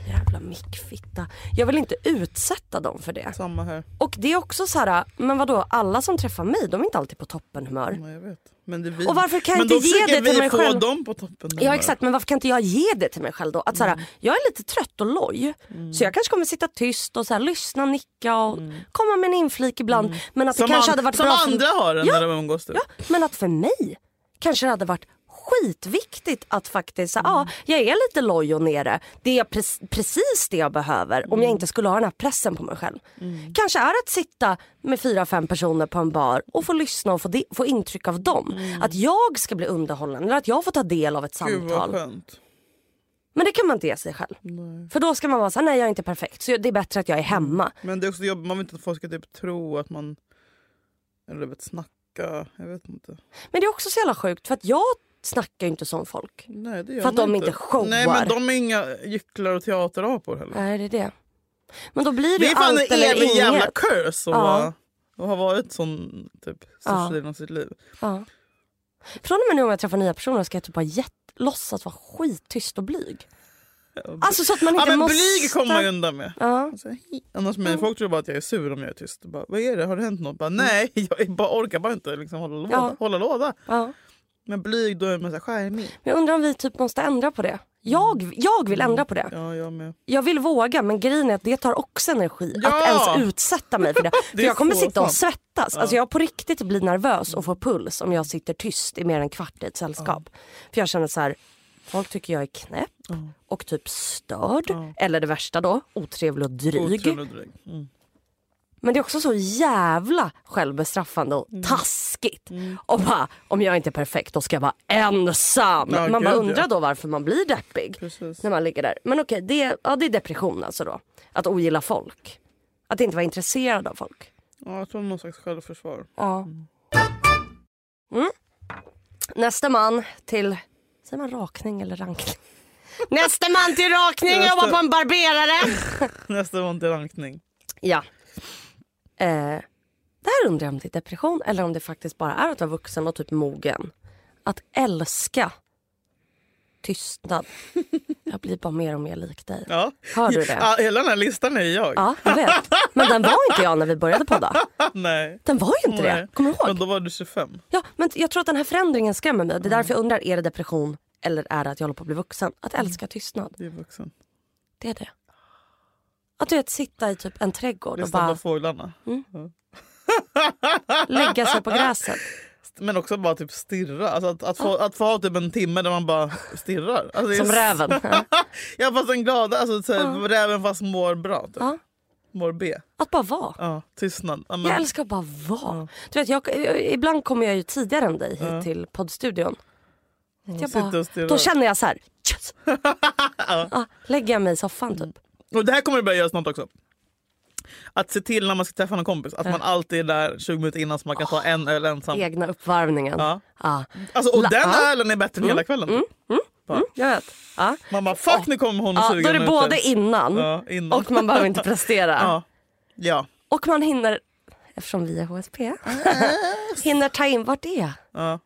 S2: Jävla mickfitta. Jag vill inte utsätta dem för det.
S3: Samma här.
S2: Och det är också så här, men vadå, alla som träffar mig, de är inte alltid på toppenhumör.
S3: Nej, jag vet. Men det är vi.
S2: Och varför kan jag inte
S3: men då
S2: ge
S3: försöker
S2: det till
S3: vi
S2: mig
S3: få
S2: själv?
S3: dem på toppen. nu
S2: Ja
S3: bara.
S2: exakt men varför kan inte jag ge det till mig själv då? Att såhär,
S3: Mm.
S2: Jag är lite trött och loj så jag kanske kommer sitta tyst och såhär, lyssna, nicka och komma med en inflik ibland. Men att det
S3: Mm. Som,
S2: kanske
S3: an-
S2: hade varit
S3: som
S2: bra
S3: andra
S2: för...
S3: har den
S2: Ja.
S3: när de umgås. Typ.
S2: Ja, men att för mig kanske det hade varit skitviktigt att faktiskt säga
S3: Mm.
S2: ja, jag är lite loj och nere. Det är pre- precis det jag behöver om
S3: Mm.
S2: jag inte skulle ha den här pressen på mig själv. Kanske är att sitta med fyra, fem personer på en bar och få lyssna och få, de- få intryck av dem. Att jag ska bli underhållen eller att jag får ta del av ett
S3: Mm. Gud vad
S2: samtal.
S3: skönt.
S2: Men det kan man inte ge sig själv. För då ska man vara såhär, nej jag är inte perfekt. Så det är bättre att jag är hemma.
S3: Men det är också jobbigt, man vill inte att folk ska typ tro att man... Eller du vet, snacka. Jag vet inte.
S2: Men det är också så jävla sjukt för att jag snackar ju inte som folk.
S3: Nej, det gör
S2: För att
S3: man
S2: de inte showar.
S3: Nej, men de är inga gycklar och teaterapor heller.
S2: Nej, det är det. Men då blir det,
S3: Det
S2: ju
S3: är fan
S2: allt
S3: en
S2: eller
S3: evig
S2: inget.
S3: jävla curse att
S2: Ja.
S3: vara- att ha varit sån typ största
S2: Ja.
S3: delen av sitt liv.
S2: Ja. Från och med nu om jag träffar nya personer ska jag typ bara jätt, låtsas vara skittyst och blyg. Alltså så att man
S3: Ja,
S2: inte
S3: men
S2: måste... Alltså,
S3: blyg kommer man ju undan med.
S2: Ja.
S3: Så, hej. Annars men folk tror bara att jag är sur om jag är tyst. Bara, Vad är det? Har det hänt något? Bara, Nej, jag är bara, orkar bara inte liksom, hålla, låda,
S2: Ja.
S3: hålla låda.
S2: Ja.
S3: Men blyg, då är man så här, charmig.
S2: Men jag undrar om vi typ måste ändra på det. Jag, jag vill ändra på det.
S3: Ja, jag med.
S2: Jag vill våga men grejen är att det tar också energi
S3: Ja!
S2: att ens utsätta mig för det.
S3: Det
S2: för
S3: är
S2: jag kommer
S3: så
S2: sitta och
S3: sant.
S2: svettas. Alltså jag på riktigt blir nervös och får puls om jag sitter tyst i mer än kvart i ett sällskap. För jag känner så här, folk tycker jag är knäpp och typ störd. Eller det värsta då, otrevlig och dryg.
S3: Otrolig och dryg. Mm.
S2: Men det är också så jävla självbestraffande och
S3: Mm.
S2: taskigt. Och bara, om jag inte är perfekt då ska jag vara ensam.
S3: Ja,
S2: man bara
S3: gud, ja.
S2: undrar då varför man blir deppig
S3: Precis.
S2: när man ligger där. Men okej, det, ja, det är depression alltså då. Att ogilla folk. Att inte vara intresserad av folk.
S3: Ja, jag tror någon slags självförsvar.
S2: Ja. Mm. Nästa man till... Säger man rakning eller rankning? Nästa man till rakning
S3: Nästa.
S2: jobbar på en barberare.
S3: Nästa var inte rankning.
S2: Ja. Eh, där undrar jag om det är depression eller om det faktiskt bara är att vara vuxen och typ mogen. Att älska tystnad. Jag blir bara mer och mer lik dig.
S3: Ja.
S2: Hör du det?
S3: Ja, hela den här listan är jag.
S2: Ja, jag vet. Men den var inte jag när vi började podda.
S3: Nej.
S2: Den var ju inte det.
S3: Nej.
S2: Kommer du
S3: Men
S2: ihåg?
S3: då var du 25.
S2: Ja, men jag tror att den här förändringen skrämmer mig. Det är därför jag undrar, är det depression eller är det att jag håller på att bli vuxen? Att älska tystnad,
S3: Det är vuxen.
S2: det är det. Att du vet, sitta i typ en trädgård och
S3: Lyssna på
S2: bara
S3: fåglarna.
S2: Mm. lägga sig på gräset.
S3: Men också bara typ stirra. Alltså att, att, få, att få ha typ en timme där man bara stirrar. Alltså det är
S2: Som
S3: s-
S2: räven. Ja.
S3: Ja fast den glada, alltså, så här, räven fast mår bra. Typ.
S2: Ja.
S3: Mår B.
S2: Att bara vara.
S3: Ja, tystnad. Ja, men,
S2: Jag älskar att bara vara. Du vet, jag, ibland kommer jag ju tidigare än dig hit till poddstudion. Jag
S3: sitter
S2: bara,
S3: och stirrar.
S2: då känner jag så här, yes! ja, lägger jag mig i soffan typ.
S3: Och det här kommer det börja göra snart också. Att se till när man ska träffa någon kompis att man alltid är där 20 minuter innan så man kan ta en öl ensam.
S2: Egna uppvärmningen.
S3: Ja.
S2: Ja.
S3: Alltså, och
S2: La-
S3: den
S2: ja.
S3: ölen är bättre än hela kvällen. typ.
S2: Mm, jag vet. Ja.
S3: Man bara fuck nu kommer hon och
S2: Ja,
S3: suger
S2: då är det
S3: en
S2: både
S3: ut dig.
S2: innan,
S3: ja, innan.
S2: och man behöver inte prestera.
S3: ja. Ja.
S2: Och man hinner, eftersom vi är HSP, hinner ta in, vart är jag?
S3: Ja.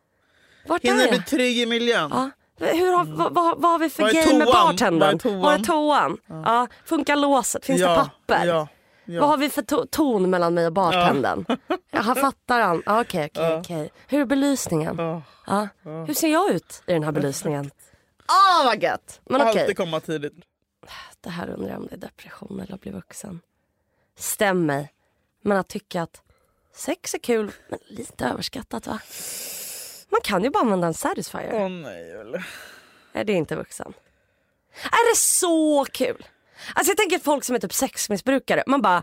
S2: Vart är
S3: Hinner
S2: jag?
S3: bli trygg i miljön.
S2: Ja. Hur har, vad, vad, vad har vi för
S3: Var är
S2: game med
S3: toan? Var
S2: bartendern?
S3: är toan?
S2: Var är toan? Ja. Funkar låset? Finns det
S3: Ja,
S2: papper?
S3: Ja. Ja.
S2: Vad har vi för to- ton mellan mig och bartendern? Jaha, fattar han. Ja, Okej, okej, okej. Hur är belysningen?
S3: Ja.
S2: Ja. Hur ser jag ut i den här belysningen? Ah, vad gött! Men okej,
S3: Alltid komma tidigt.
S2: det här undrar jag om det är depression eller att bli vuxen. Stäm mig, men att tycka att sex är kul, men lite överskattat va? Man kan ju bara använda en satisfier.
S3: Åh nej Julia.
S2: Nej, det är inte vuxen. Är det så kul? Alltså jag tänker folk som är typ sexmissbrukare. Man bara,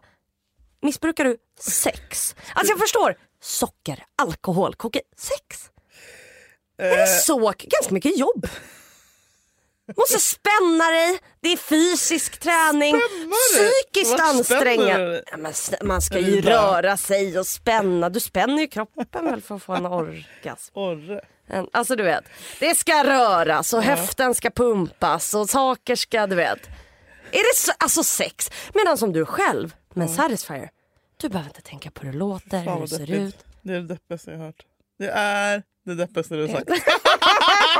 S2: missbrukar du sex? Alltså jag förstår. Socker, alkohol, kokain, sex. Är det så k- Ganska mycket jobb. Måste spänna dig, det är fysisk träning,
S3: dig?
S2: psykiskt
S3: Vart spänner du
S2: ansträngande.
S3: dig?
S2: Ja, men sn- man ska
S3: Är
S2: ju
S3: det där?
S2: röra sig och spänna. Du spänner ju kroppen väl för att få en orgasm.
S3: Orre.
S2: En, alltså du vet, det ska röras och höften ska pumpas och saker ska, du vet. Är det så, alltså sex? Medan som du själv med en Satisfyer, du behöver inte tänka på hur det låter, hur
S3: Fan
S2: det
S3: vad
S2: ser
S3: deppigt.
S2: ut.
S3: Det är det deppigaste jag har hört. Det är det deppigaste du har sagt.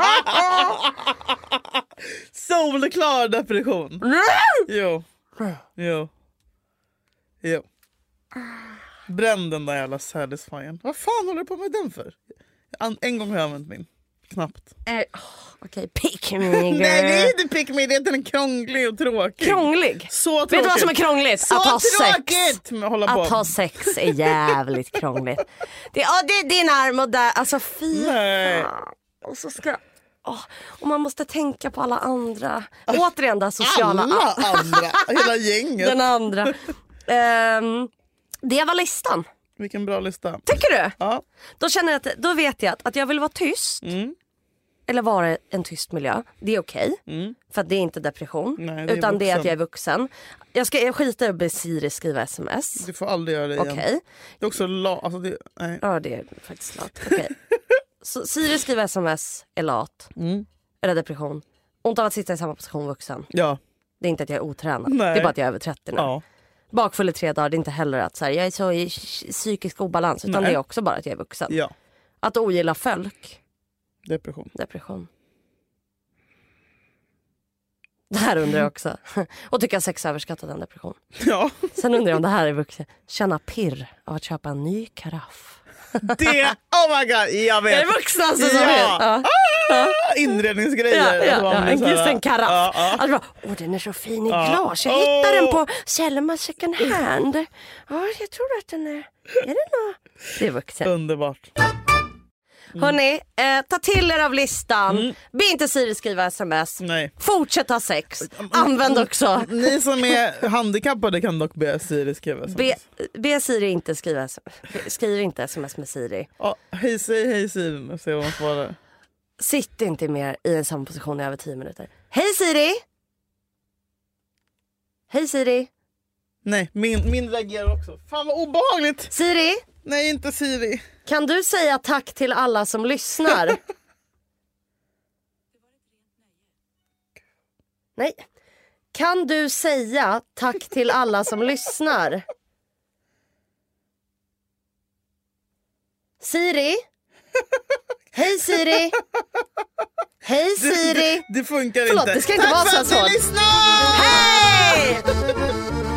S3: Solklar depression. Jo. Jo. Jo. Bränn den där jävla satisfyern. Vad fan håller du på med den för? An- En gång har jag använt min. Knappt.
S2: Är- Eh, åh, Okej, pick me girl.
S3: Nej det är inte pick me, det är att den är krånglig och tråkig.
S2: Krånglig.
S3: Så tråkigt.
S2: Vet du vad som är krångligt?
S3: Så
S2: att ha sex.
S3: tråkigt med att hålla på.
S2: Att ha sex är jävligt krångligt. Det, ja, det är din arm och där, alltså fy
S3: Nej.
S2: fan. Och så ska... åh, och man måste tänka på alla andra. Återigen det här sociala.
S3: Alltså, Alla andra, hela gänget.
S2: Den andra. Ehm, det var listan.
S3: Vilken bra lista.
S2: Tycker du?
S3: Ja. Mm.
S2: Då, känner jag att, då vet jag att, att jag vill vara tyst. Eller vara i en tyst miljö. Det är okej. För att det är inte depression.
S3: Mm. Nej, det är
S2: utan det är att
S3: vuxen.
S2: jag är vuxen. Jag, ska, jag skiter i att be Siri skriva sms.
S3: Du får aldrig göra det igen.
S2: Okej.
S3: Det är också la... Alltså det, nej.
S2: Ja det är faktiskt lat. Okej. Så Siri skriver sms, är lat,
S3: Mm.
S2: eller depression. Ont av att sitta i samma position vuxen.
S3: Ja.
S2: Det är inte att jag är otränad,
S3: Nej.
S2: det är bara att jag är över 30 nu.
S3: ja.
S2: Bakfull i tre dagar, det är inte heller att så här, jag är så i psykisk obalans utan
S3: Nej.
S2: det är också bara att jag är vuxen.
S3: Ja.
S2: Att ogilla folk,
S3: Depression.
S2: depression. Det här undrar jag också. Och tycker jag sex är överskattat en depression.
S3: Ja.
S2: Sen undrar jag om det här är vuxen. Känna pirr av att köpa en ny karaff.
S3: Det, oh my god, jag
S2: Är
S3: vet.
S2: det vuxna alltså som
S3: Ja.
S2: är- ja.
S3: Inredningsgrejer.
S2: Ja, ja,
S3: Att man
S2: ja,
S3: blir
S2: en,
S3: så här-
S2: just en karaff.
S3: Ja, ja.
S2: Alltså bara, åh den är så fin i
S3: Ja.
S2: glas. Jag
S3: Åh.
S2: hittade den på Källman second hand. Ja, jag tror att den är... Är det nå? Det är vuxen.
S3: Underbart.
S2: Hörni, eh, ta till er av listan. Be inte Siri skriva sms.
S3: Nej.
S2: Fortsätt ha sex. Använd också.
S3: Ni som är handikappade kan dock be Siri skriva sms.
S2: Be, be Siri inte skriva sms. Skriv inte sms med Siri.
S3: Ja, hej säg hej Siri och se vad hon svarar.
S2: Sitt inte mer i en samma position i över 10 minuter. Hej Siri! Hej Siri!
S3: Nej, min, min reagerar också. Fan vad obehagligt!
S2: Siri!
S3: Nej, inte Siri.
S2: Kan du säga tack till alla som lyssnar? Nej. Kan du säga tack till alla som lyssnar? Siri? Hej Siri! Hej Siri!
S3: Det funkar
S2: Förlåt,
S3: inte.
S2: det ska inte
S3: Tack
S2: vara
S3: för
S2: så
S3: att
S2: svårt.
S3: ni lyssnar!
S2: Hej!